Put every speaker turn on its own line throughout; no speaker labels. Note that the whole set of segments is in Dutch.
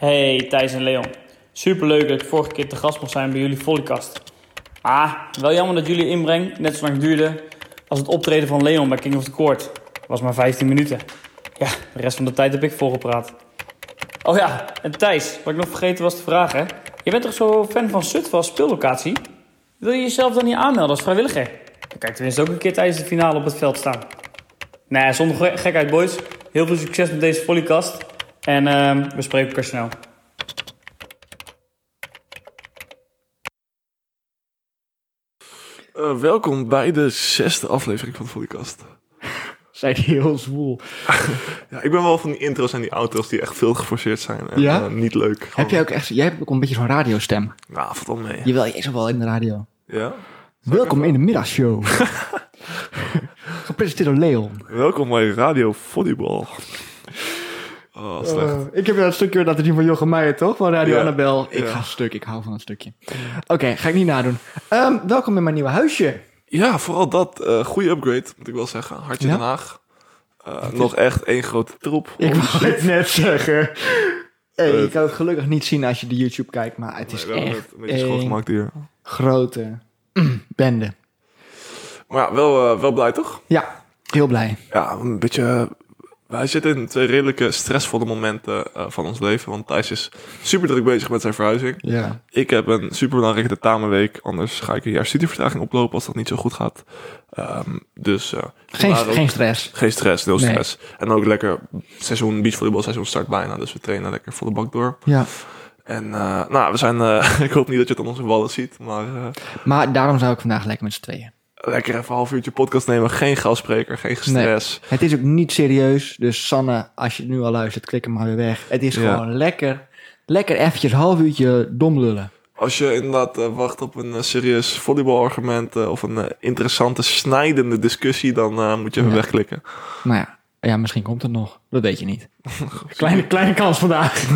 Hey Thijs en Leon. Superleuk dat ik vorige keer te gast mocht zijn bij jullie Volleycast. Ah, wel jammer dat jullie inbreng net zo lang duurde als het optreden van Leon bij King of the Court. Was maar 15 minuten. Ja, de rest van de tijd heb ik volgepraat. Oh ja, en Thijs, wat ik nog vergeten was te vragen. Je bent toch zo fan van Zutphen als speellocatie? Wil je jezelf dan niet aanmelden als vrijwilliger? Dan kan je tenminste ook een keer tijdens de finale op het veld staan. Nee, zonder gek- gekheid boys. Heel veel succes met deze volleycast. En ehm, we spreken elkaar snel.
Eh, welkom bij de zesde aflevering van Volleycast.
Zijn die heel zwoel.
Ja, ik ben wel van die intro's en die outros die echt veel geforceerd zijn. En,
Ja?
eh, niet leuk.
Heb jij ook echt, jij hebt ook een beetje zo'n radiostem.
Nou, valt al mee.
Jawel, jij is wel in de radio.
Ja?
Welkom in de middagshow. Gepresenteerd door Leon.
Welkom bij Radio Volleybal. Oh, slecht.
Eh, ik heb dat stukje dat zien van Jochem Meijer, toch? Van Radio
Ja.
Annabel. Ik
Ja.
ga stuk, ik hou van dat stukje. Oké, ga ik niet nadoen. Ehm, welkom in mijn nieuwe huisje.
Ja, vooral dat. eh goede upgrade, moet ik wel zeggen. Hartje
Ja?
Den Haag. Eh, nog echt één grote troep.
Ik wou het net zeggen. Oh, Hey,
Eh.
je kan het gelukkig niet zien als je de YouTube kijkt, maar het is
We hebben
echt
het een beetje
een
schoongemaakt hier.
grote mm, bende.
Maar ja, wel, eh, wel blij toch?
Ja, heel blij.
Ja, een beetje... eh, wij zitten in twee redelijke stressvolle momenten eh, van ons leven. Want Thijs is super druk bezig met zijn verhuizing.
Ja.
Ik heb een superbelangrijke tentamenweek. Anders ga ik een jaar studievertraging oplopen als dat niet zo goed gaat. Ehm, dus eh,
Geen,
vandaar ook-
geen stress.
geen stress, nul
Nee.
stress. En ook lekker seizoen, beachvolleybalseizoen start bijna. Dus we trainen lekker volle bak door.
Ja.
En eh, nou, we zijn, eh, ik hoop niet dat je het aan onze wallen ziet. Maar eh,
Maar daarom zou ik vandaag lekker met z'n tweeën.
lekker even een half uurtje podcast nemen. Geen gastspreker, geen stress.
Het is ook niet serieus. Dus Sanne, als je het nu al luistert, klik hem maar weer weg. Het is
Ja.
gewoon lekker. Lekker eventjes een half uurtje dom lullen.
Als je inderdaad eh, wacht op een eh, serieus volleybalargument... eh, of een eh, interessante, snijdende discussie... dan eh, moet je even
Ja.
wegklikken.
Nou ja, ja, misschien komt het nog. Dat weet je niet. kleine, kleine kans vandaag.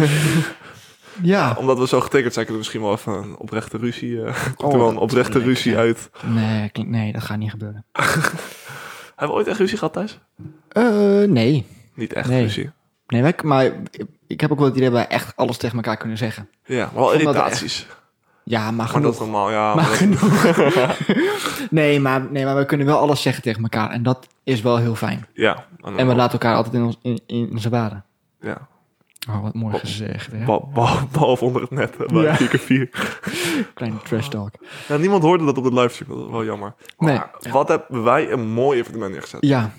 ja.
Omdat we zo getekend zijn, kunnen we misschien wel even een oprechte ruzie. eh, komt er wel een
dat
oprechte
is leuk,
ruzie
ja.
uit.
Nee, klink- nee, dat gaat niet gebeuren.
Hebben we ooit echt ruzie gehad thuis?
Eh, nee.
Niet echt
Nee.
ruzie.
Nee, wij- maar ik- ik heb ook wel het idee dat wij echt alles tegen elkaar kunnen zeggen.
Ja, maar wel
Omdat we
irritaties.
Ja, maar
Maar dat
genoeg.
is normaal, ja.
maar
maar dat-
genoeg. nee, maar, nee, maar we kunnen wel alles zeggen tegen elkaar. En dat is wel heel fijn.
ja,
En we laten elkaar altijd in, ons, in, in onze waarde.
Ja.
Oh, wat mooi gezegd. Hè?
Bal, bal, behalve onder het net, eh, bij
Ja.
4x4.
Kleine trash talk.
Ja, niemand hoorde dat op de livestream, dat is wel jammer. Maar wat hebben wij een mooi evenement neergezet.
Ja.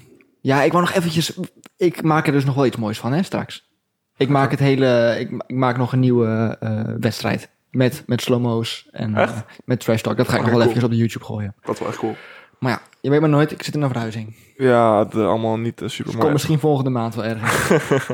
ja, ik wou nog eventjes... Ik maak er dus nog wel iets moois van, hè, straks. Ik maak het hele... Ik, ma- ik maak nog een nieuwe eh, wedstrijd. Met, met slow-mo's en eh,
Echt?
met trash talk. Dat ga ik
Oké,
nog wel
cool.
eventjes op de YouTube gooien.
Dat is wel echt cool.
Maar ja, je weet maar nooit. Ik zit in een verhuizing.
Ja, het, eh, allemaal niet super
Dus komt
mooi.
misschien volgende maand wel ergens.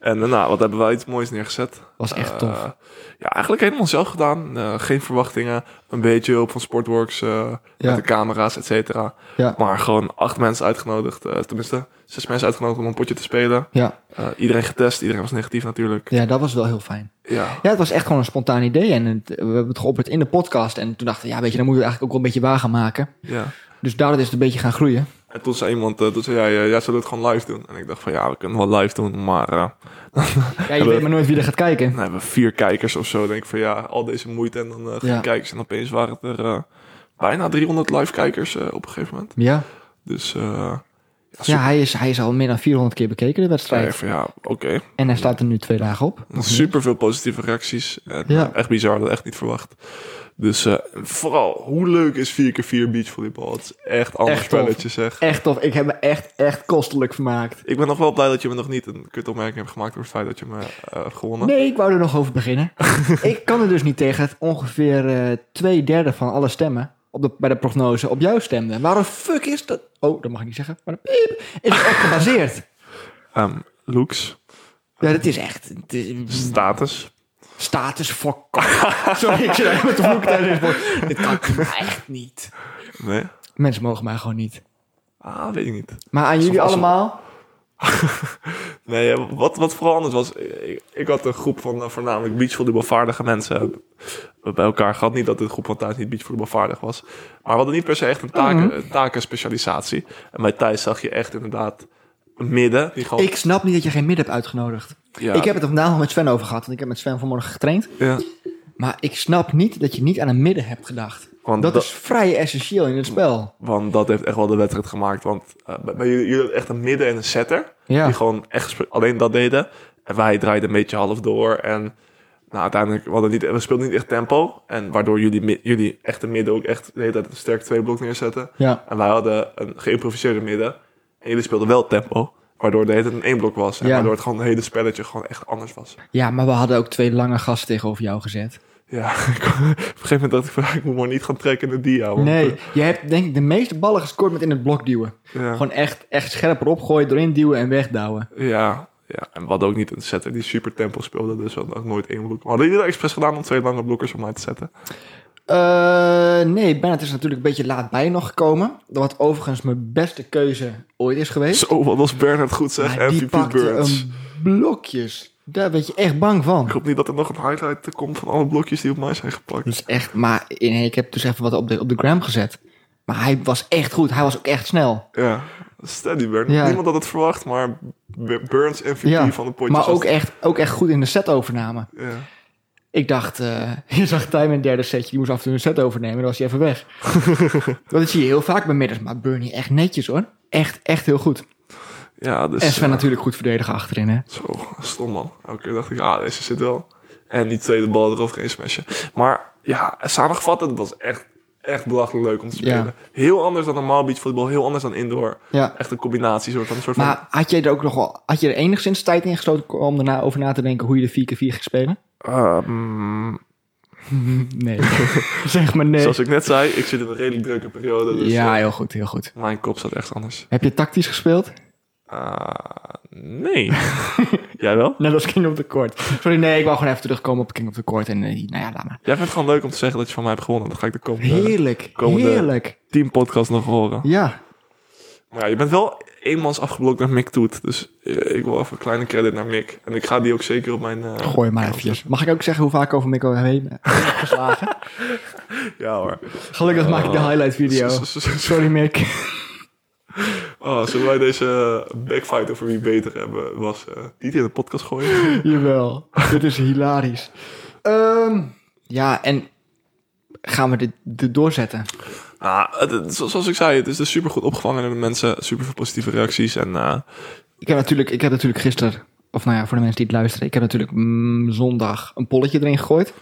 En eh, nou, wat hebben wij iets moois neergezet?
Was echt
Eh,
tof.
ja, eigenlijk helemaal zelf gedaan. Eh, geen verwachtingen. Een beetje hulp van Sportworks eh, met
Ja.
de camera's, et cetera.
Ja.
Maar gewoon acht mensen uitgenodigd. eh, tenminste, zes mensen uitgenodigd om een potje te spelen.
Ja.
Eh, iedereen getest, iedereen was negatief natuurlijk.
ja, dat was wel heel fijn.
Ja,
Ja, het was echt gewoon een spontaan idee. En het- we hebben het geopperd in de podcast. En toen dachten we, ja, weet je, dan moet je eigenlijk ook wel een beetje waar gaan maken.
ja.
Dus daardoor is het een beetje gaan groeien.
En toen zei iemand, eh, toen zei jij, eh, jij zou het gewoon live doen. En ik dacht van, ja, we kunnen wel live doen, maar eh
Ja, je weet maar nooit wie er gaat kijken.
dan hebben we vier kijkers of zo. Dan denk ik van, ja, al deze moeite en dan eh geen
Ja.
kijkers. En opeens waren het er eh, bijna 300 live kijkers eh, op een gegeven moment.
Ja,
Dus eh
ja hij, is, hij is al meer dan 400 keer bekeken, de
zei ik
wedstrijd.
van, ja, oké.
En hij staat er nu twee dagen op.
Super veel positieve reacties. En
Mhm.
eh,
Ja.
Echt bizar, dat echt niet verwacht. Dus eh, vooral, hoe leuk is 4x4 beachvolleybal? Het is echt anders
Echt tof.
spelletje, zeg.
Echt tof. Ik heb me echt, echt kostelijk vermaakt.
Ik ben nog wel blij dat je me nog niet een kutopmerking hebt gemaakt... door het feit dat je me eh, hebt gewonnen.
Nee, ik wou er nog over beginnen. ik kan er dus niet tegen dat ongeveer eh, twee derde van alle stemmen op de, bij de prognose op jou stemden. Waar de fuck is dat? Oh, dat mag ik niet zeggen. Maar piep, is het echt gebaseerd?
Ehm, looks,
Ja, dat is echt. het is-
status.
Status fuck. Sorry, ik zit eigenlijk met de vloek tijdens dit woord. Dit kan echt niet.
Nee?
Mensen mogen mij gewoon niet.
Ah, weet ik niet.
Maar aan jullie allemaal,
Nee, eh, wat, wat vooral anders was... eh, Ik, ik had een groep van eh, voornamelijk beachvolleybalvaardige mensen eh, bij elkaar gehad. Niet dat de groep van Thijs niet beachvolleybalvaardig was. Mhm. Maar we hadden niet per se echt een taken, een takenspecialisatie. En bij Thijs zag je echt inderdaad... midden. Die gewoon,
Ik snap niet dat je geen midden hebt uitgenodigd.
Oh. ja,
Ik heb het er vandaag al met Sven over gehad, want ik heb met Sven vanmorgen getraind.
ja.
Maar ik snap niet dat je niet aan een midden hebt gedacht.
Want
dat
dat-
is vrij essentieel in het spel.
Want dat heeft echt wel de wedstrijd gemaakt. Want eh, bij bij jullie, jullie hadden echt een midden en een setter. Die
Ja.
gewoon echt spe- alleen dat deden. En wij draaiden een beetje half door. En nou, uiteindelijk, we, hadden niet, we speelden niet echt tempo. En waardoor jullie, mi- jullie echt de midden ook echt de hele tijd een sterk twee blok neerzetten.
ja.
En wij hadden een geïmproviseerde midden. En jullie speelden wel tempo. Waardoor de hele tijd een één blok was. En
Ja.
waardoor het gewoon het hele spelletje gewoon echt anders was.
Ja, maar we hadden ook twee lange gasten tegenover jou gezet.
Ja, ik- op een gegeven moment dacht ik van, ik moet maar niet gaan trekken in de dia. want,
Nee, je hebt denk ik de meeste ballen gescoord met in het blok duwen.
eh, ja.
Gewoon echt, echt scherp erop gooien, erin duwen en wegdouwen.
Ja, ja, en we hadden ook niet een setter die super tempo speelde, dus we hadden ook nooit één blok. We hadden jullie dat expres gedaan om twee lange blokkers om uit te zetten?
Eh, nee, Bennett is natuurlijk een beetje laat bij nog gekomen. Wat overigens mijn beste keuze ooit is geweest.
Zo, wat was Bernard goed zeg,
maar die
MVP
pakte
Birds.
een blokjes. Daar werd je echt bang van.
Ik hoop niet dat er nog een highlight komt van alle blokjes die op mij zijn gepakt.
Dus echt, maar nee, ik heb dus even wat op de, op de gram gezet. Maar hij was echt goed. Hij was ook echt snel.
Ja, steady Bernard.
Ja.
Niemand had het verwacht, maar B- Burns MVP
Ja,
van de potjes.
Maar
was-
ook echt, ook echt goed in de setovername.
Ja.
Ik dacht, eh, je zag Tijmen in het derde setje. Die moest af en toe een set overnemen. Dan was hij even weg. Want dat zie je heel vaak bij middens. Maar Bernie echt netjes hoor. Echt, echt heel goed.
ja, dus...
En Sven
eh,
natuurlijk goed verdedigen achterin hè.
Zo, stom man. Elke keer dacht ik, ah, deze zit wel. En die tweede bal erover geen smashen. Maar ja, samengevat, het was echt, echt belachelijk leuk om te spelen.
Ja.
Heel anders dan normaal beachvoetbal, heel anders dan indoor.
Ja.
Echt een combinatie, soort van. Een soort
Maar had jij er ook nog wel, had je er enigszins tijd in gestoten om daarna over na te denken hoe je de 4x4 ging spelen?
van ehm,
Nee. zeg maar nee.
Zoals ik net zei, ik zit in een redelijk drukke periode. Dus
Ja,
eh,
heel goed, heel goed.
mijn kop staat echt anders.
Heb je tactisch gespeeld?
Ah, nee. Jij wel?
Net als King of the Court. Sorry, nee, ik wou gewoon even terugkomen op King of the Court. En eh, nou ja, laat maar.
Jij vindt het gewoon leuk om te zeggen dat je van mij hebt gewonnen. Dan ga ik de komende
Heerlijk,
komende-
heerlijk.
team podcast nog horen.
Ja,
Maar ja, je bent wel eenmans afgeblokt naar Mick Toet. Dus eh, ik wil even een kleine credit naar Mick. En ik ga die ook zeker op mijn... eh,
gooi maar eventjes. Mag ik ook zeggen hoe vaak ik over Mikko heen ben geslagen?
Ja hoor.
Gelukkig maak ik de highlight video. Sorry Mick.
Oh, zullen wij deze backfight over wie beter hebben was eh, niet in de podcast gooien?
Jawel, dit is hilarisch. Ehm, ja, en gaan we dit, dit doorzetten?
Nou, het- het- zo- zoals ik zei, het is dus super goed opgevangen door de mensen. Super veel positieve reacties. En eh,
Ik heb natuurlijk, ik heb natuurlijk gisteren, of nou ja, voor de mensen die het luisteren, ik heb natuurlijk mm, zondag een polletje erin gegooid.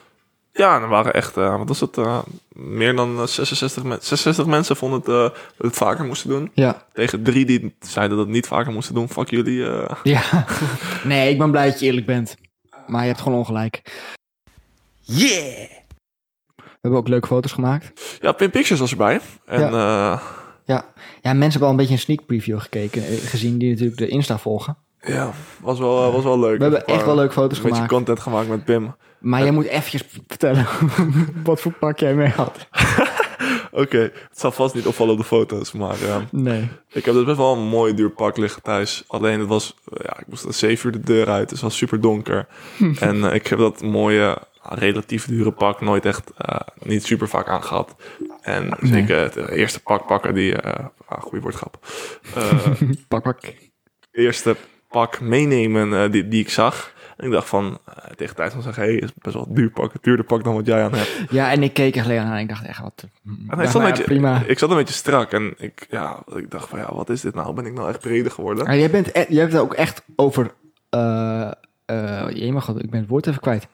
ja, er waren echt, eh, wat was het, eh, meer dan eh, 66, men- 66 mensen vonden het, eh, dat het vaker moesten doen.
Ja.
Tegen drie die zeiden dat het niet vaker moesten doen. Fuck jullie. eh.
Ja. Nee, ik ben blij dat je eerlijk bent. Maar je hebt gewoon ongelijk.
Yeah!
We hebben ook leuke foto's gemaakt.
Ja, Pin Pictures was erbij. En eh,
Ja. Ja, mensen hebben al een beetje een sneak preview gekeken, eh, gezien die natuurlijk de Insta volgen.
Ja, was wel, eh, was wel leuk.
We hebben echt wel leuke foto's
Een beetje
gemaakt.
content gemaakt met Pim.
Maar jij moet eventjes vertellen wat voor pak jij mee had.
Oké, het zal vast niet opvallen op de foto's, maar eh,
Nee.
ik heb dus best wel een mooi duur pak liggen thuis. Alleen het was, eh, ja, ik moest om 7 uur de deur uit, dus het was super donker. en eh, ik heb dat mooie, ah, relatief dure pak nooit echt, eh, niet super vaak aangehad. En dus
Nee.
ik, eh, het eerste pak pakken die, eh ah, goede woordgrap. Eh,
Pak, pak.
eerste pak meenemen eh, die, die ik zag. En ik dacht van, eh, tegen tijd van zeggen, hé, hey, is best wel een duur pak. Het duurder pak dan wat jij aan hebt.
Ja, en ik keek echt Leon aan en ik dacht echt wat.
En
Nou,
ik, zat
nou
een
ja,
beetje,
prima.
ik zat een beetje strak en ik, ja, ik dacht van ja, wat is dit nou? Ben ik nou echt breder geworden?
Maar jij, bent, e- jij hebt het ook echt over. eh eh jee, maar god, ik ben het woord even kwijt.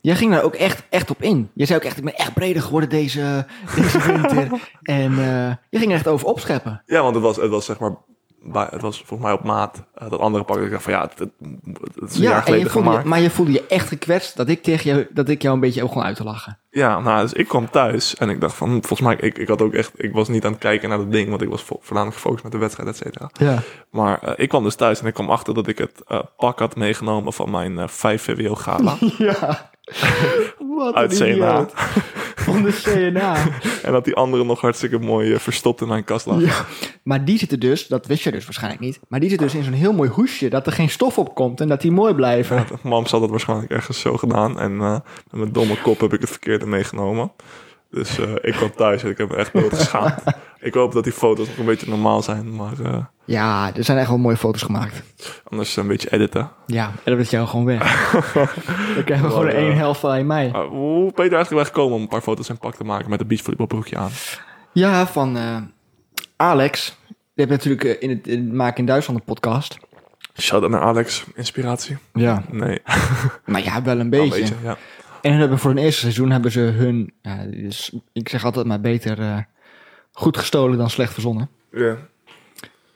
Jij ging daar ook echt, echt op in. Je zei ook echt, ik ben echt breder geworden deze, deze winter. en eh, je ging er echt over opscheppen.
Ja, want het was, het was zeg maar, bij- het was volgens mij op maat. eh, dat andere pak, dat ik dacht van ja, het, het, het is een jaar
Ja, en
geleden
je voelde je,
gemaakt.
maar je voelde je echt gekwetst dat ik, tegen jou, dat ik jou een beetje ook gewoon uit te lachen.
Ja, nou, dus ik kwam thuis en ik dacht van, hm, volgens mij, ik, ik had ook echt, ik was niet aan het kijken naar dat ding, want ik was vo- voornamelijk gefocust met de wedstrijd, et cetera.
Ja.
Maar eh, ik kwam dus thuis en ik kwam achter dat ik het eh, pak had meegenomen van mijn eh, 5 VWO gala
Ja. Wat
uit
een
CNA.
idioot. Van de CNA.
En dat die andere nog hartstikke mooi eh, verstopt in mijn kast lag.
Ja. Maar die zitten dus, dat wist je dus waarschijnlijk niet, maar die zitten dus in zo'n heel mooi hoesje dat er geen stof op komt en dat die mooi blijven.
Mam had dat waarschijnlijk ergens zo gedaan. En eh, met mijn domme kop heb ik het verkeerde meegenomen. Dus eh, ik kwam thuis en ik heb me echt dood geschaamd. ik hoop dat die foto's nog een beetje normaal zijn, maar eh,
Ja, er zijn echt wel mooie foto's gemaakt.
anders een beetje editen.
Ja, en dan is jou gewoon weg. dan krijgen we gewoon
Wow.
één helft van mij.
Maar hoe ben je er eigenlijk bij gekomen om een paar foto's en pak te maken met een beachvolleybalbroekje aan?
Ja, van eh, Alex. Je hebt natuurlijk eh, in het, in het Maak in Duitsland een podcast.
Shout-out naar Alex. Inspiratie?
Ja.
Nee,
Maar ja, wel een
wel een
beetje.
beetje. Ja.
En hun hebben voor hun eerste seizoen hebben ze hun... ja, dus ik zeg altijd maar beter eh, goed gestolen dan slecht verzonnen.
Ja.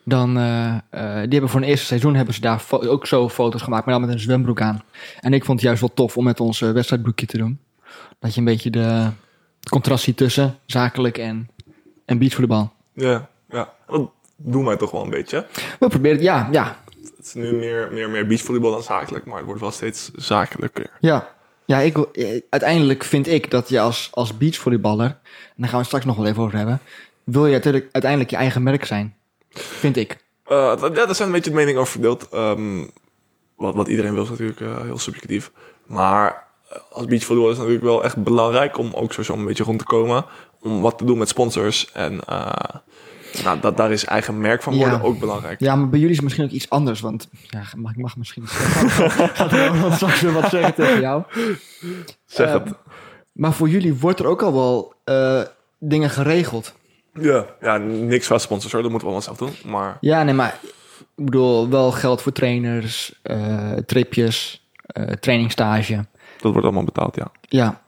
Dan, eh, eh, die hebben voor hun eerste seizoen hebben ze daar fo- ook zo foto's gemaakt, maar dan met een zwembroek aan. En ik vond het juist wel tof om met ons eh, wedstrijdbroekje te doen. Dat je een beetje de, het contrast ziet tussen zakelijk en, en beachvolleybal.
ja, ja. Dat doen wij toch wel een beetje.
We proberen het, ja, ja,
Het is nu meer, meer, meer beachvolleybal dan zakelijk, maar het wordt wel steeds zakelijker.
Ja, ja ik, wil- eh, uiteindelijk vind ik dat je als, als beachvolleyballer, en daar gaan we het straks nog wel even over hebben, wil je uiteindelijk, uiteindelijk je eigen merk zijn. Vind ik.
Eh, dat- ja, daar zijn een beetje de meningen over verdeeld. Ehm, wat, wat iedereen wil is natuurlijk eh, heel subjectief. Maar eh, als beachvolleybal is het natuurlijk wel echt belangrijk om ook sowieso een beetje rond te komen. Om wat te doen met sponsors. En eh, nou, dat, daar is eigen merk van worden
Ja.
ook belangrijk.
Ja, maar bij jullie is het misschien ook iets anders, want ja, mag, ik mag misschien iets zeggen. Gaat Ronald straks weer wat zeggen tegen jou.
Zeg
Eh,
het.
Maar voor jullie wordt er ook al wel eh, dingen geregeld.
Ja. ja, niks van sponsors hoor. Dat moeten we allemaal zelf doen. Maar
Ja, nee, maar ik bedoel, wel geld voor trainers, eh, tripjes, eh, trainingstage.
dat wordt allemaal betaald, ja.
Ja,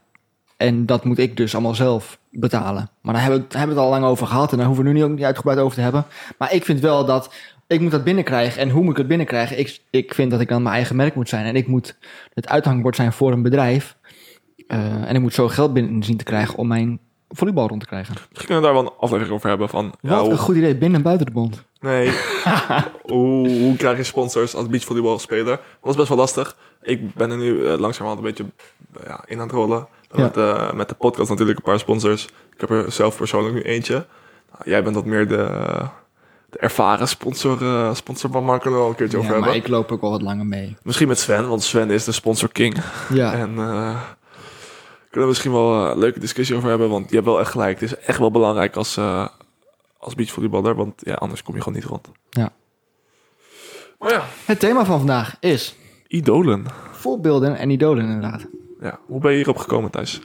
en dat moet ik dus allemaal zelf betalen. Maar daar hebben we het, hebben we het al lang over gehad en daar hoeven we nu niet, ook niet uitgebreid over te hebben. Maar ik vind wel dat ik moet dat binnenkrijgen. En hoe moet ik het binnenkrijgen? Ik, ik vind dat ik dan mijn eigen merk moet zijn. En ik moet het uithangbord zijn voor een bedrijf. Eh, en ik moet zo geld binnen zien te krijgen om mijn volleybal rond te krijgen.
Misschien kunnen we daar wel een aflevering over hebben. Van, ja,
Wat
hoe-
een goed idee, binnen en buiten de bond.
Nee. hoe, hoe krijg je sponsors als beachvolleybalspeler? Dat is best wel lastig. Ik ben er nu langzaam langzamerhand een beetje eh, ja, in aan het rollen. Dan
Ja.
Met, eh, met de podcast natuurlijk een paar sponsors. Ik heb er zelf persoonlijk nu eentje. Nou, jij bent wat meer de, de ervaren sponsor, eh, sponsor van Marco er al een keertje
Ja,
over
maar
hebben.
ik loop ook al wat langer mee.
Misschien met Sven, want Sven is de sponsor king.
Ja,
En eh we kunnen er misschien wel eh, een leuke discussie over hebben. Want je hebt wel echt gelijk. Het is echt wel belangrijk als, eh als beachvolleyballer. Want ja, anders kom je gewoon niet rond.
Ja.
Maar ja,
het thema van vandaag is
idolen.
voorbeelden en idolen inderdaad.
Ja, hoe ben je hierop gekomen thuis?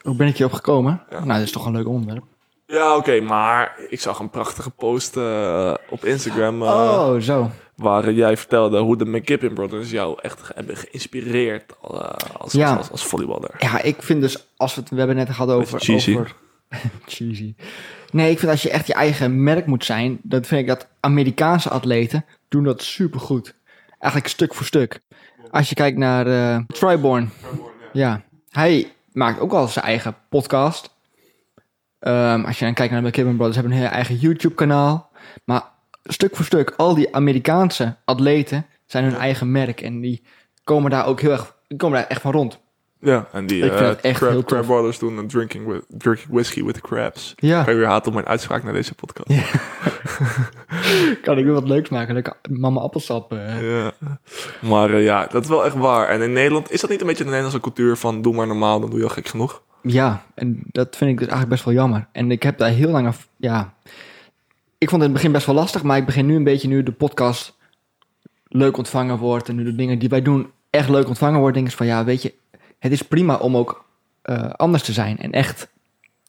Hoe ben ik hierop gekomen?
Ja.
Nou, dat is toch een leuk onderwerp.
Ja, oké, maar ik zag een prachtige post eh, op Instagram. eh,
Oh, zo.
Waar jij vertelde hoe de McKippin Brothers jou echt ge- hebben geïnspireerd eh, als,
Ja.
als, als, als volleyballer.
Ja, ik vind dus, als we het, we hebben het net gehad over...
Beetje cheesy.
over- cheesy. Nee, ik vind als je echt je eigen merk moet zijn, dan vind ik dat Amerikaanse atleten doen dat supergoed. Eigenlijk stuk voor stuk. Als je kijkt naar eh Tryborn. Ja, hij maakt ook al zijn eigen podcast. Ehm, als je dan kijkt naar de McKibben Brothers, hebben een eigen YouTube kanaal. Maar stuk voor stuk, al die Amerikaanse atleten zijn hun eigen merk. En die komen daar ook heel erg, die komen daar echt van rond.
Ja, en die
Ik vind
eh,
het echt
crab,
heel tof.
crab Brothers doen een drinking, with, drinking whiskey with the crabs.
Ja.
Ik ga weer haat op mijn uitspraak naar deze podcast.
Ja. Kan ik weer wat leuks maken? Lekker mama appelsap. eh.
Ja. Maar eh, ja, dat is wel echt waar. En in Nederland is dat niet een beetje de Nederlandse cultuur van doe maar normaal, dan doe je al gek genoeg.
Ja, en dat vind ik dus eigenlijk best wel jammer. En ik heb daar heel lang af. Ja. Ik vond het in het begin best wel lastig, maar ik begin nu een beetje nu de podcast leuk ontvangen wordt. En nu de dingen die wij doen echt leuk ontvangen worden. Denk ik van ja, weet je, het is prima om ook eh, anders te zijn en echt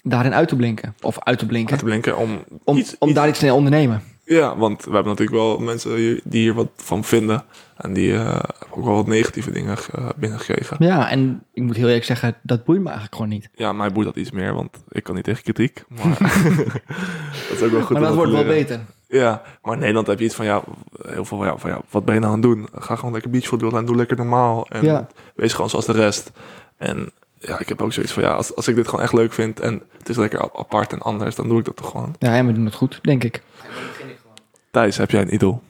daarin uit te blinken. Of uit te
Gaat
blinken.
te blinken om,
Om,
iets-
om
iets-
daar iets te ondernemen.
Ja, want we hebben natuurlijk wel mensen hier- die hier wat van vinden. En die eh, hebben ook wel wat negatieve dingen eh, binnengekregen.
Ja, en ik moet heel eerlijk zeggen, dat boeit me eigenlijk gewoon niet.
Ja, mij boeit dat iets meer, want ik kan niet tegen kritiek. Maar dat is ook wel goed. om
maar dat
te
wordt wel
leren.
beter.
Ja, maar in Nederland heb je iets van ja, heel veel van ja, van ja, wat ben je nou aan het doen? Ga gewoon lekker beachvolleybal en doe lekker normaal. En
Ja.
wees gewoon zoals de rest. En ja, ik heb ook zoiets van ja, als, als ik dit gewoon echt leuk vind en het is lekker a- apart en anders, dan doe ik dat toch gewoon.
Ja, en we doen het goed, denk ik.
Thijs, heb jij een idool?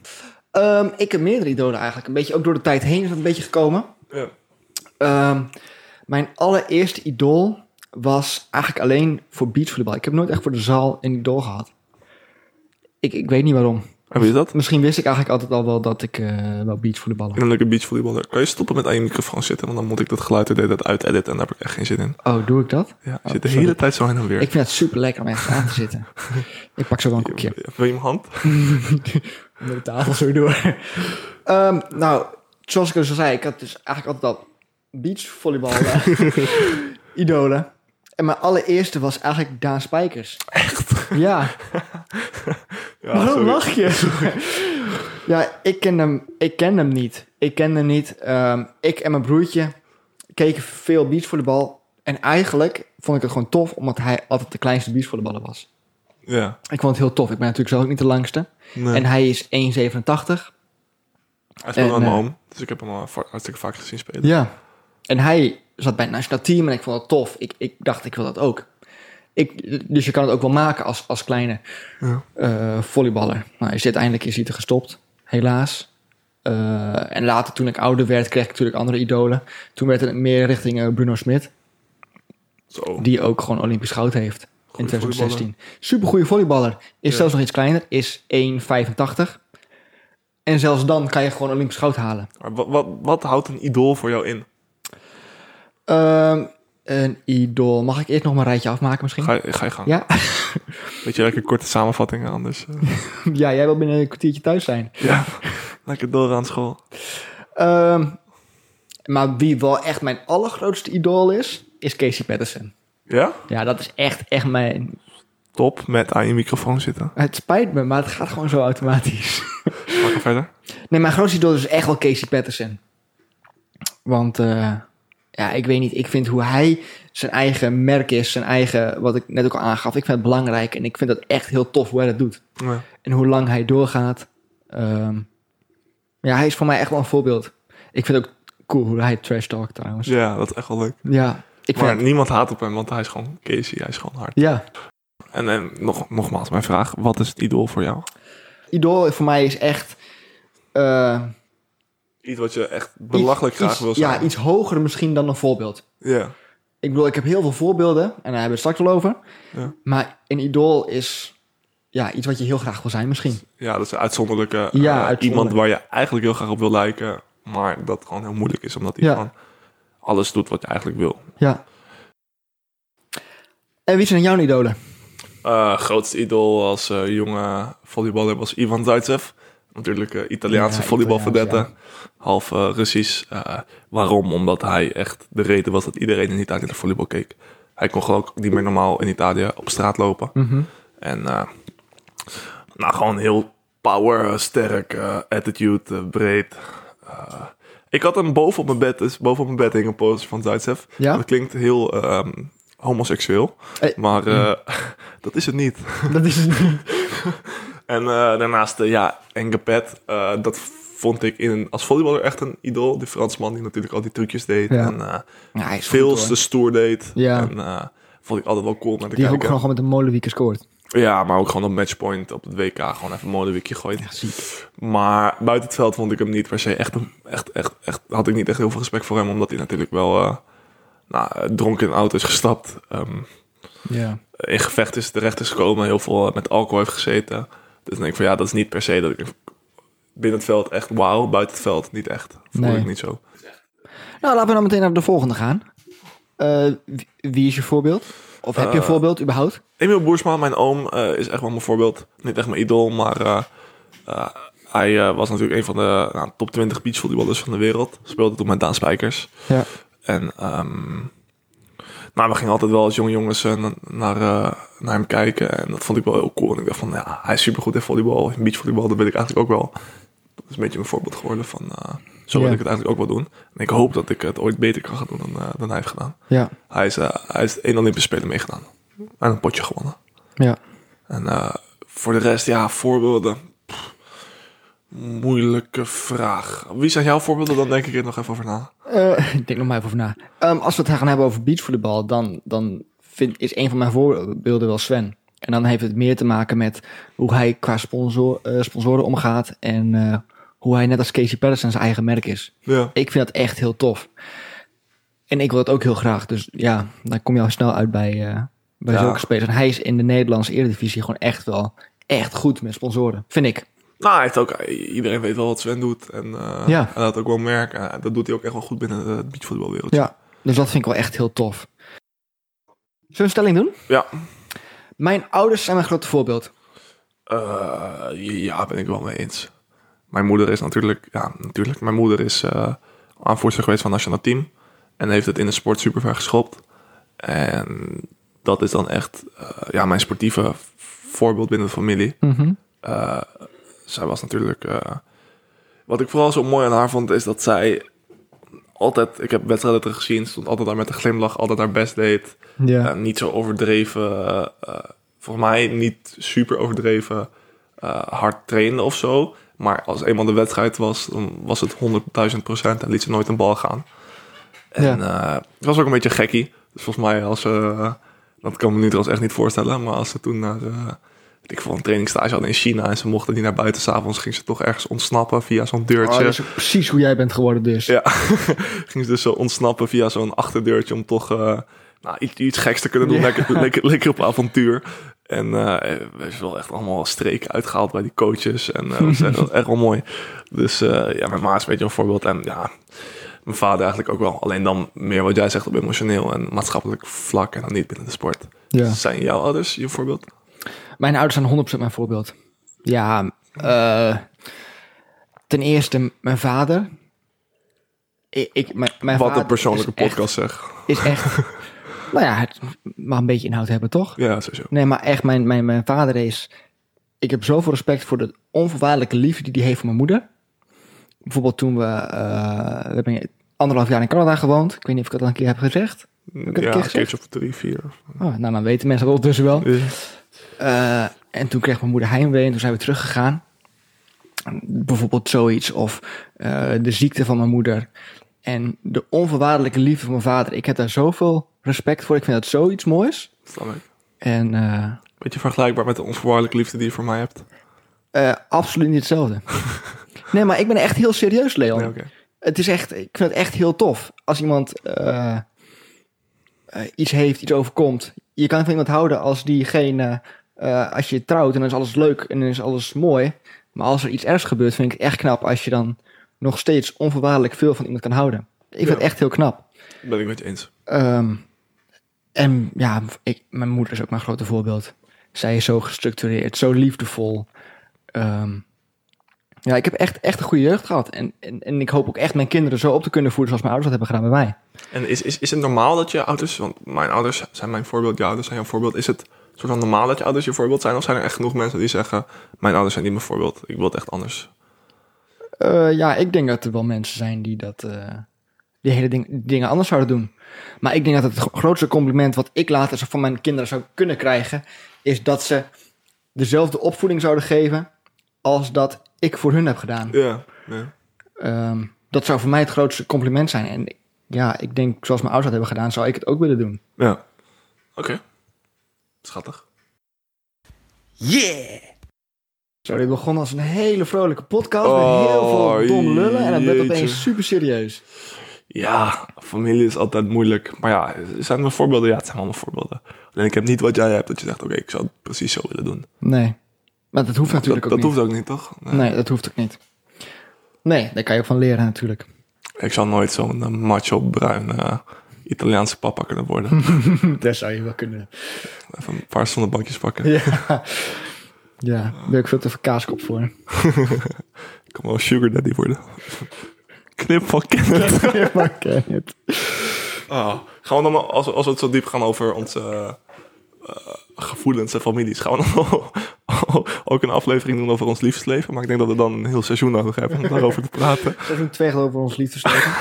Ehm, ik heb meerdere idolen eigenlijk. Een beetje ook door de tijd heen is dat een beetje gekomen.
Ja.
Ehm, mijn allereerste idool was eigenlijk alleen voor beachvolleybal. Ik heb nooit echt voor de zaal een idool gehad. Ik, ik weet niet waarom.
En wie is dat?
Misschien wist ik eigenlijk altijd al wel dat ik eh wel beachvolleyballen.
Innerlijke beachvolleyballer. Kan je stoppen met aan je microfoon zitten? Want dan moet ik dat geluid er de hele tijd uit editen en daar heb ik echt geen zin in.
Oh, doe ik dat?
Ja, je
Oh,
zit de
sorry.
hele tijd zo heen en weer.
Ik vind het super lekker om echt aan te zitten. ik pak zo wel een koekje.
Wil je mijn hand?
onder de tafel zo door. Ehm, nou, zoals ik al zo zei, ik had dus eigenlijk altijd al beachvolleybal eh, idolen. En mijn allereerste was eigenlijk Daan Spijkers. Echt? Ah, Ja.
Ja,
Waarom
sorry.
lach je? ja, ik ken hem, ik ken hem niet. Ik ken hem niet. Ehm, ik en mijn broertje keken veel beachvolleybal. En eigenlijk vond ik het gewoon tof, omdat hij altijd de kleinste beachvolleyballer was.
Ja.
Ik vond het heel tof. Ik ben natuurlijk zelf ook niet de langste.
Nee.
En hij is 1,87.
hij speelt aan
en,
mijn
eh,
oom, dus ik heb hem al va- hartstikke vaak gezien spelen.
Ja. En hij zat bij het nationaal team en ik vond dat tof. Ik, ik dacht, ik wil dat ook. Ik, dus je kan het ook wel maken als, als kleine
Ja.
eh, volleyballer. Maar is dit eindelijk is hij er gestopt, helaas. Eh, en later, toen ik ouder werd, kreeg ik natuurlijk andere idolen. Toen werd het meer richting eh, Bruno Smit,
Zo.
die ook gewoon Olympisch goud heeft in
Goeie
2016. Supergoeie volleyballer. Is
Ja.
zelfs nog iets kleiner, is 1,85. En zelfs dan kan je gewoon Olympisch goud halen.
Maar wat, wat, wat houdt een idool voor jou in?
Ehm, een idool. Mag ik eerst nog mijn rijtje afmaken misschien?
Ga, je- ga je gang.
Ja?
Weet je, lekker korte samenvattingen anders. eh.
ja, jij wil binnen een kwartiertje thuis zijn.
ja. Lekker door aan school.
Ehm, maar wie wel echt mijn allergrootste idool is, is Casey Patterson.
Ja?
Ja, dat is echt, echt mijn...
Top, met aan je microfoon zitten.
Het spijt me, maar het gaat gewoon zo automatisch.
Ga ik verder?
Nee, mijn grootste idool is echt wel Casey Patterson. Want, eh, ja, ik weet niet. Ik vind hoe hij zijn eigen merk is, zijn eigen... Wat ik net ook al aangaf, ik vind het belangrijk. En ik vind dat echt heel tof hoe hij dat doet.
Ja.
en hoe lang hij doorgaat. Ehm, ja, hij is voor mij echt wel een voorbeeld. Ik vind ook cool hoe hij trash talkt trouwens. Ja,
ja, dat is echt wel leuk.
ik vind
Maar niemand haat op hem, want hij is gewoon Casey, hij is gewoon hard.
ja.
En, en nog, nogmaals, mijn vraag, wat is het idool voor jou?
Idool voor mij is echt... eh,
Iets wat je echt belachelijk
iets-
graag
iets-
wil zijn.
Ja, iets hoger misschien dan een voorbeeld.
Ja.
Ik bedoel, ik heb heel veel voorbeelden. En daar hebben we het straks wel over.
Ja.
Maar een idool is... Ja, iets wat je heel graag wil zijn misschien.
Ja, dat is een uitzonderlijke. eh,
uitzonderlijk.
Iemand waar je eigenlijk heel graag op wil lijken, maar dat gewoon heel moeilijk is, omdat hij
Ja.
gewoon alles doet wat je eigenlijk wil.
Ja. En wie zijn jouw idolen?
Eh, grootste idool als eh, jonge volleyballer was Ivan Zaitsev. Natuurlijk eh, Italiaanse
Ja,
volleybalverdette.
Italiaans,
Half eh, Russisch. Eh, waarom? Omdat hij echt de reden was dat iedereen in Italië naar volleybal keek. Hij kon gewoon ook niet meer normaal in Italië op straat lopen.
Mhm.
En eh, nou, gewoon heel power, eh, sterk, eh, attitude, eh, breed. Eh, ik had hem boven op mijn bed, dus boven op mijn bed hing een poster van Zaitsev.
Ja?
Dat klinkt heel ehm, homoseksueel,
Eh,
maar eh, dat is het niet.
Dat is het niet.
En eh, daarnaast, eh, ja, Engepet, eh dat vond ik in, als volleyballer echt een idool. Die Fransman die natuurlijk al die trucjes deed
Ja.
en eh,
Ja, hij is goed,
veel
hoor.
te stoer deed.
Ja.
En eh, vond ik altijd wel cool om naar te
Die heeft ook
kijken.
gewoon, gewoon met een molenwiek gescoord.
Ja, maar ook gewoon op matchpoint op het WK gewoon even een molenwiekje gooit.
ziek.
Maar buiten het veld vond ik hem niet per se echt, een- echt, echt, echt had ik niet echt heel veel respect voor hem, omdat hij natuurlijk wel eh, nou, eh, dronken in de auto is gestapt. ehm,
Ja.
in gevecht is terecht is gekomen, heel veel eh, met alcohol heeft gezeten. Dus dan denk ik van ja, dat is niet per se dat ik binnen het veld echt wauw, buiten het veld niet echt. Voel
Nee.
ik niet zo.
Nou, laten we dan meteen naar de volgende gaan. Eh, wie, wie is je voorbeeld? Of heb je een
Eh,
voorbeeld überhaupt?
Emiel Boersma, mijn oom, eh, is echt wel mijn voorbeeld. Niet echt mijn idool, maar eh, eh, hij eh, was natuurlijk een van de nou, top 20 beachvolleyballers van de wereld. Speelde toen met Daan Spijkers.
Ja.
En ehm, nou, we gingen altijd wel als jonge jongens eh, na- naar, eh, naar hem kijken. En dat vond ik wel heel cool. En ik dacht van, ja, hij is supergoed in volleybal. In beachvolleybal, dat wil ik eigenlijk ook wel. Dat is een beetje mijn voorbeeld geworden van... eh, zo wil
Ja.
ik het eigenlijk ook wel doen. En ik hoop dat ik het ooit beter kan gaan doen dan, eh, dan hij heeft gedaan.
Ja.
Hij is, eh, hij is één Olympische Spelen meegedaan. En een potje gewonnen.
Ja.
En eh, voor de rest, ja, voorbeelden. Pff, moeilijke vraag. Wie zijn jouw voorbeelden? Dan denk ik er nog even over na.
Eh, ik denk nog maar even over na. Ehm, als we het gaan hebben over beachvolleybal, dan, dan vind, is een van mijn voorbeelden wel Sven. En dan heeft het meer te maken met hoe hij qua sponsor, eh, sponsoren omgaat en eh, hoe hij net als Casey Patterson zijn eigen merk is.
Ja.
Ik vind dat echt heel tof. En ik wil dat ook heel graag. Dus ja, dan kom je al snel uit bij, eh, bij
Ja.
zulke spelers. En hij is in de Nederlandse Eredivisie gewoon echt wel echt goed met sponsoren. Vind ik.
Nou, hij heeft ook, iedereen weet wel wat Sven doet. En eh,
Ja.
hij laat ook wel merken. Eh, dat doet hij ook echt wel goed binnen het beachvoetbalwereld.
Ja, dus dat vind ik wel echt heel tof. Zullen we een stelling doen?
Ja. Eh, ja, ben ik wel mee eens. Mijn moeder is natuurlijk, ja, natuurlijk. Mijn moeder is eh aanvoerster geweest van het nationaal team. En heeft het in de sport super ver geschopt. En dat is dan echt, eh, ja, mijn sportieve voorbeeld binnen de familie.
Mhm.
Eh, zij was natuurlijk. eh, wat ik vooral zo mooi aan haar vond, is dat zij altijd. Ik heb wedstrijden terug gezien, stond altijd daar met een glimlach, altijd haar best deed.
Ja.
Eh, niet zo overdreven. eh, eh, volgens mij niet super overdreven eh, hard trainen of zo. Maar als eenmaal de wedstrijd was, dan was het 100.000 procent en liet ze nooit een bal gaan. En eh, het was ook een beetje gekkie. Dus volgens mij, als ze, eh, dat kan ik me nu trouwens echt niet voorstellen, maar als ze toen naar de, weet ik voor een trainingstage hadden in China en ze mochten niet naar buiten s'avonds, ging ze toch ergens ontsnappen via zo'n
Oh,
deurtje.
dat is ook precies hoe jij bent geworden dus.
Ja, ging ze dus zo ontsnappen via zo'n achterdeurtje om toch eh, nou, iets, iets geks te kunnen doen.
Ja.
Lekker, lekker, lekker op avontuur. En eh, er is wel echt allemaal streken uitgehaald bij die coaches. En eh, dat is echt, wel- echt wel mooi. Dus eh, ja, mijn ma is een beetje een voorbeeld. En ja, mijn vader eigenlijk ook wel. Alleen dan meer wat jij zegt op emotioneel en maatschappelijk vlak. En dan niet binnen de sport.
Ja.
Zijn jouw ouders je voorbeeld?
Mijn ouders zijn 100% mijn voorbeeld. Ja, eh, ten eerste mijn vader. Ik, ik, mijn, mijn
wat
vader
een persoonlijke
is echt-
podcast zeg.
is echt... nou ja, het mag een beetje inhoud hebben, toch?
Ja, sowieso.
Nee, maar echt, mijn, mijn, mijn vader is... Ik heb zoveel respect voor de onvoorwaardelijke liefde die hij heeft voor mijn moeder. Bijvoorbeeld toen we... eh, we hebben anderhalf jaar in Canada gewoond. Ik weet niet of ik dat al een keer heb gezegd. ik het een
Ja,
keer
een
gezegd?
keertje of drie, vier.
Oh, nou, dan weten mensen dat ondertussen wel.
Ja.
Eh, en toen kreeg mijn moeder heimwee en toen zijn we teruggegaan. Bijvoorbeeld zoiets of eh, de ziekte van mijn moeder. En de onvoorwaardelijke liefde van mijn vader. Ik heb daar zoveel respect voor. Ik vind dat zoiets moois.
Snap ik.
En eh,
Beetje vergelijkbaar met de onvoorwaardelijke liefde die je voor mij hebt.
eh, absoluut niet hetzelfde. nee, maar ik ben echt heel serieus, Leon.
Nee, oké.
Het is echt, ik vind het echt heel tof. Als iemand eh, eh, iets heeft, iets overkomt. Je kan van iemand houden als diegene, eh, als je trouwt en dan is alles leuk en dan is alles mooi. Maar als er iets ergs gebeurt, vind ik het echt knap als je dan nog steeds onvoorwaardelijk veel van iemand kan houden. Ik vind
Ja.
het echt heel knap.
Ben ik met je eens.
Ehm, en ja, ik, mijn moeder is ook mijn grote voorbeeld. Zij is zo gestructureerd, zo liefdevol. Ehm, ja, ik heb echt, echt een goede jeugd gehad. En, en, en ik hoop ook echt mijn kinderen zo op te kunnen voeden zoals mijn ouders dat hebben gedaan bij mij.
En is, is, is het normaal dat je ouders, want mijn ouders zijn mijn voorbeeld, jouw ouders zijn jouw voorbeeld. Is het soort van normaal dat je ouders je voorbeeld zijn? Of zijn er echt genoeg mensen die zeggen, mijn ouders zijn niet mijn voorbeeld, ik wil het echt anders?
Eh, ja, ik denk dat er wel mensen zijn die dat. eh, die hele ding, die dingen anders zouden doen. Maar ik denk dat het gro- grootste compliment wat ik later zo van mijn kinderen zou kunnen krijgen. is dat ze dezelfde opvoeding zouden geven. als dat ik voor hun heb gedaan.
Ja, ja.
Ehm, dat zou voor mij het grootste compliment zijn. En ik- ja, ik denk zoals mijn ouders dat hebben gedaan, zou ik het ook willen doen.
ja. Oké, schattig.
Yeah!
Zo, dit begon als een hele vrolijke podcast
Oh,
met heel veel dom lullen. En dan werd het
jeetje.
opeens super serieus.
Ja, familie is altijd moeilijk. Maar ja, zijn mijn voorbeelden? Ja, het zijn allemaal voorbeelden. Alleen ik heb niet wat jij hebt, dat je zegt, oké, ik zou het precies zo willen doen.
Nee. Maar dat hoeft
Dat,
natuurlijk
dat
ook
hoeft ook niet, toch?
niet. Nee, dat hoeft ook niet. Nee, daar kan je ook van leren natuurlijk.
Ik zou nooit zo'n eh, macho bruin eh, Italiaanse papa kunnen worden.
Daar zou je wel kunnen.
Even een paar zonnebankjes pakken.
Ja. Ja, daar ben ik veel te veel kaaskop voor.
Ik kan wel sugar daddy worden. Knip van Kenneth.
maar ken het.
Ah. Gaan we dan, maar- als, we- als we het zo diep gaan over onze eh, eh, gevoelens en families, gaan we dan ook een aflevering doen over ons liefdesleven? Maar ik denk dat we dan een heel seizoen nodig hebben om daarover te praten.
Seizoen 2 gaat over ons liefdesleven.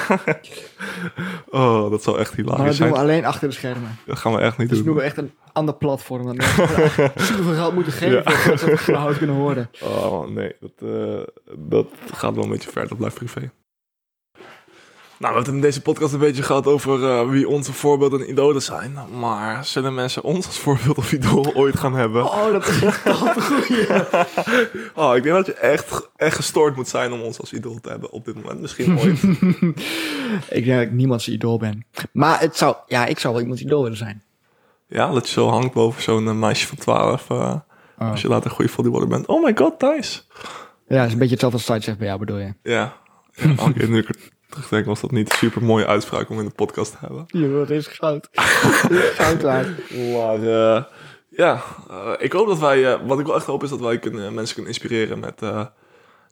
Oh, dat zou echt
Maar dat
hilarisch
doen
zijn.
we alleen achter de schermen.
Dat gaan we echt niet
Dus
doen.
noemen we echt een ander platform dan mensen super veel geld moeten geven voordat ze het überhaupt kunnen horen.
Oh nee, dat, eh, dat gaat wel een beetje ver. Dat blijft privé. Nou, we hebben het in deze podcast een beetje gehad over eh, wie onze voorbeelden en idolen zijn. Maar zullen mensen ons als voorbeeld of idool ooit gaan hebben?
Oh, dat is echt een goeie.
Oh, ik denk dat je echt, echt gestoord moet zijn om ons als idool te hebben op dit moment. Misschien ooit.
Ik denk dat ik niemands idool ben. Maar het zou, ja, ik zou wel iemands idool willen zijn.
ja, dat je zo hangt boven zo'n eh, meisje van 12. eh, Als je later een goede volleyballer bent. Oh my god, Thijs.
Ja, het is een beetje hetzelfde als Sidechef bij jou, bedoel je?
Ja. ja oké, nu ik er terugdenk was dat niet een super mooie uitspraak om in de podcast te hebben.
Joh, dat is goud. goud waard.
Maar eh, ja, eh, ik hoop dat wij, eh, wat ik wel echt hoop is dat wij kunnen, eh, mensen kunnen inspireren met eh,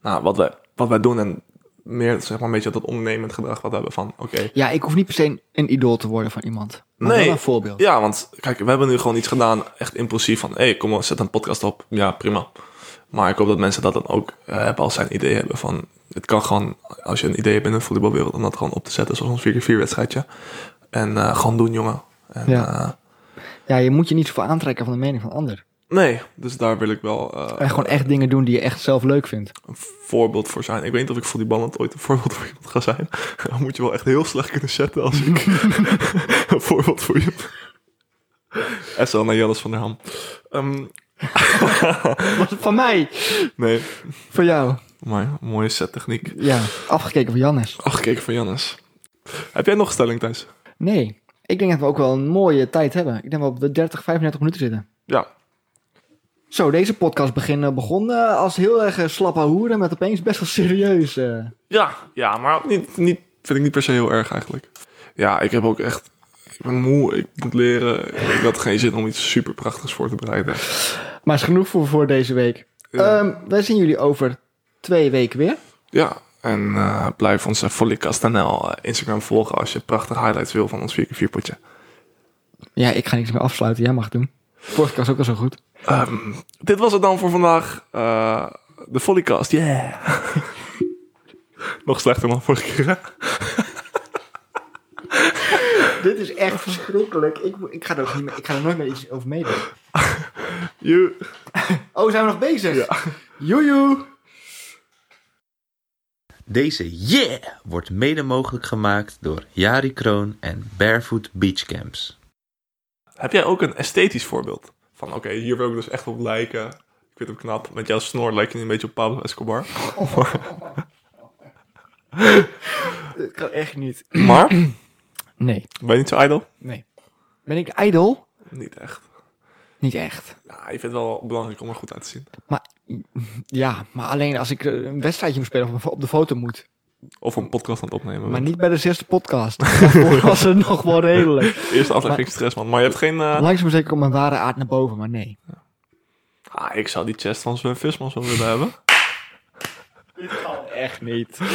nou, wat, wij, wat wij doen en meer zeg maar een beetje dat ondernemend gedrag wat we hebben van oké.
Ja, ik hoef niet per se een- een idool te worden van iemand. Maar
Nee.
wel een voorbeeld.
Ja, want kijk, we hebben nu gewoon iets gedaan, echt impulsief van hé, hey, kom maar, zet een podcast op. Ja, prima. Maar ik hoop dat mensen dat dan ook eh, hebben als zij een idee hebben van het kan gewoon, als je een idee hebt in de volleybalwereld, om dat gewoon op te zetten zoals een 4x4 wedstrijdje. En eh, gewoon doen, jongen. En,
Ja.
eh,
Ja, je moet je niet zoveel aantrekken van de mening van een ander.
nee, dus daar wil ik wel eh,
En gewoon echt dingen doen die je echt zelf leuk vindt.
een voorbeeld voor zijn. Ik weet niet of ik volleyballand ooit een voorbeeld voor iemand ga zijn. Dan moet je wel echt heel slecht kunnen zetten als ik een voorbeeld voor je. SL naar Jannes van der Ham. Ehm,
Van mij.
nee,
Van jou.
maar mooie settechniek.
Ja, afgekeken van Jannes.
Afgekeken van Jannes. Heb jij nog een stelling thuis?
Nee, ik denk dat we ook wel een mooie tijd hebben. Ik denk dat we op de 30, 35 minuten zitten.
Ja.
Zo, deze podcast begin, begon eh, als heel erg eh, slappe hoeren met opeens best wel serieus. eh.
Ja, ja maar niet, niet, vind ik niet per se heel erg eigenlijk. Ja, ik heb ook echt... Ik ben moe, ik moet leren. Ik had geen zin om iets super prachtigs voor te bereiden.
Maar is genoeg voor, voor deze week.
Ja.
Ehm, wij zien jullie over twee weken weer.
Ja, en eh, blijf onze Follycast.nl eh, Instagram volgen als je prachtige highlights wil van ons 4x4 potje.
Ja, ik ga niks meer afsluiten. Jij mag het doen. Vorige keer was ook al zo goed.
Ehm, dit was het dan voor vandaag. Eh, de Follycast, yeah! Nog slechter dan vorige keer. hè?
Dit is echt verschrikkelijk. Ik, moet- ik, ga er ook niet meer, ik ga er nooit meer iets over meedoen.
Joe.
Oh, zijn we nog bezig? Joejoe!
Deze Yeah wordt mede mogelijk gemaakt door Jari Kroon en Barefoot Beach Camps.
Heb jij ook een esthetisch voorbeeld? Van oké, hier wil ik dus echt op lijken. Ik vind hem knap. Met jouw snor lijkt je een beetje op Pablo Escobar.
Dat kan echt niet.
Maar,
Nee,
ben je niet zo ijdel?
nee. Ben ik ijdel?
Niet echt.
Niet echt.
Nou, ik vind het wel belangrijk om er goed uit te zien.
Ja, maar alleen als ik eh, een wedstrijdje moet spelen of op de foto moet.
Of een podcast aan het opnemen.
Maar niet bij de zesde podcast. Daarvoor was het nog wel redelijk.
Eerste aflevering stress, man. Maar je hebt geen... eh,
Langzaam maar zeker komt mijn ware aard naar boven, maar nee.
Ah, ik zou die chest van Sven Visman zo willen hebben.
Echt niet.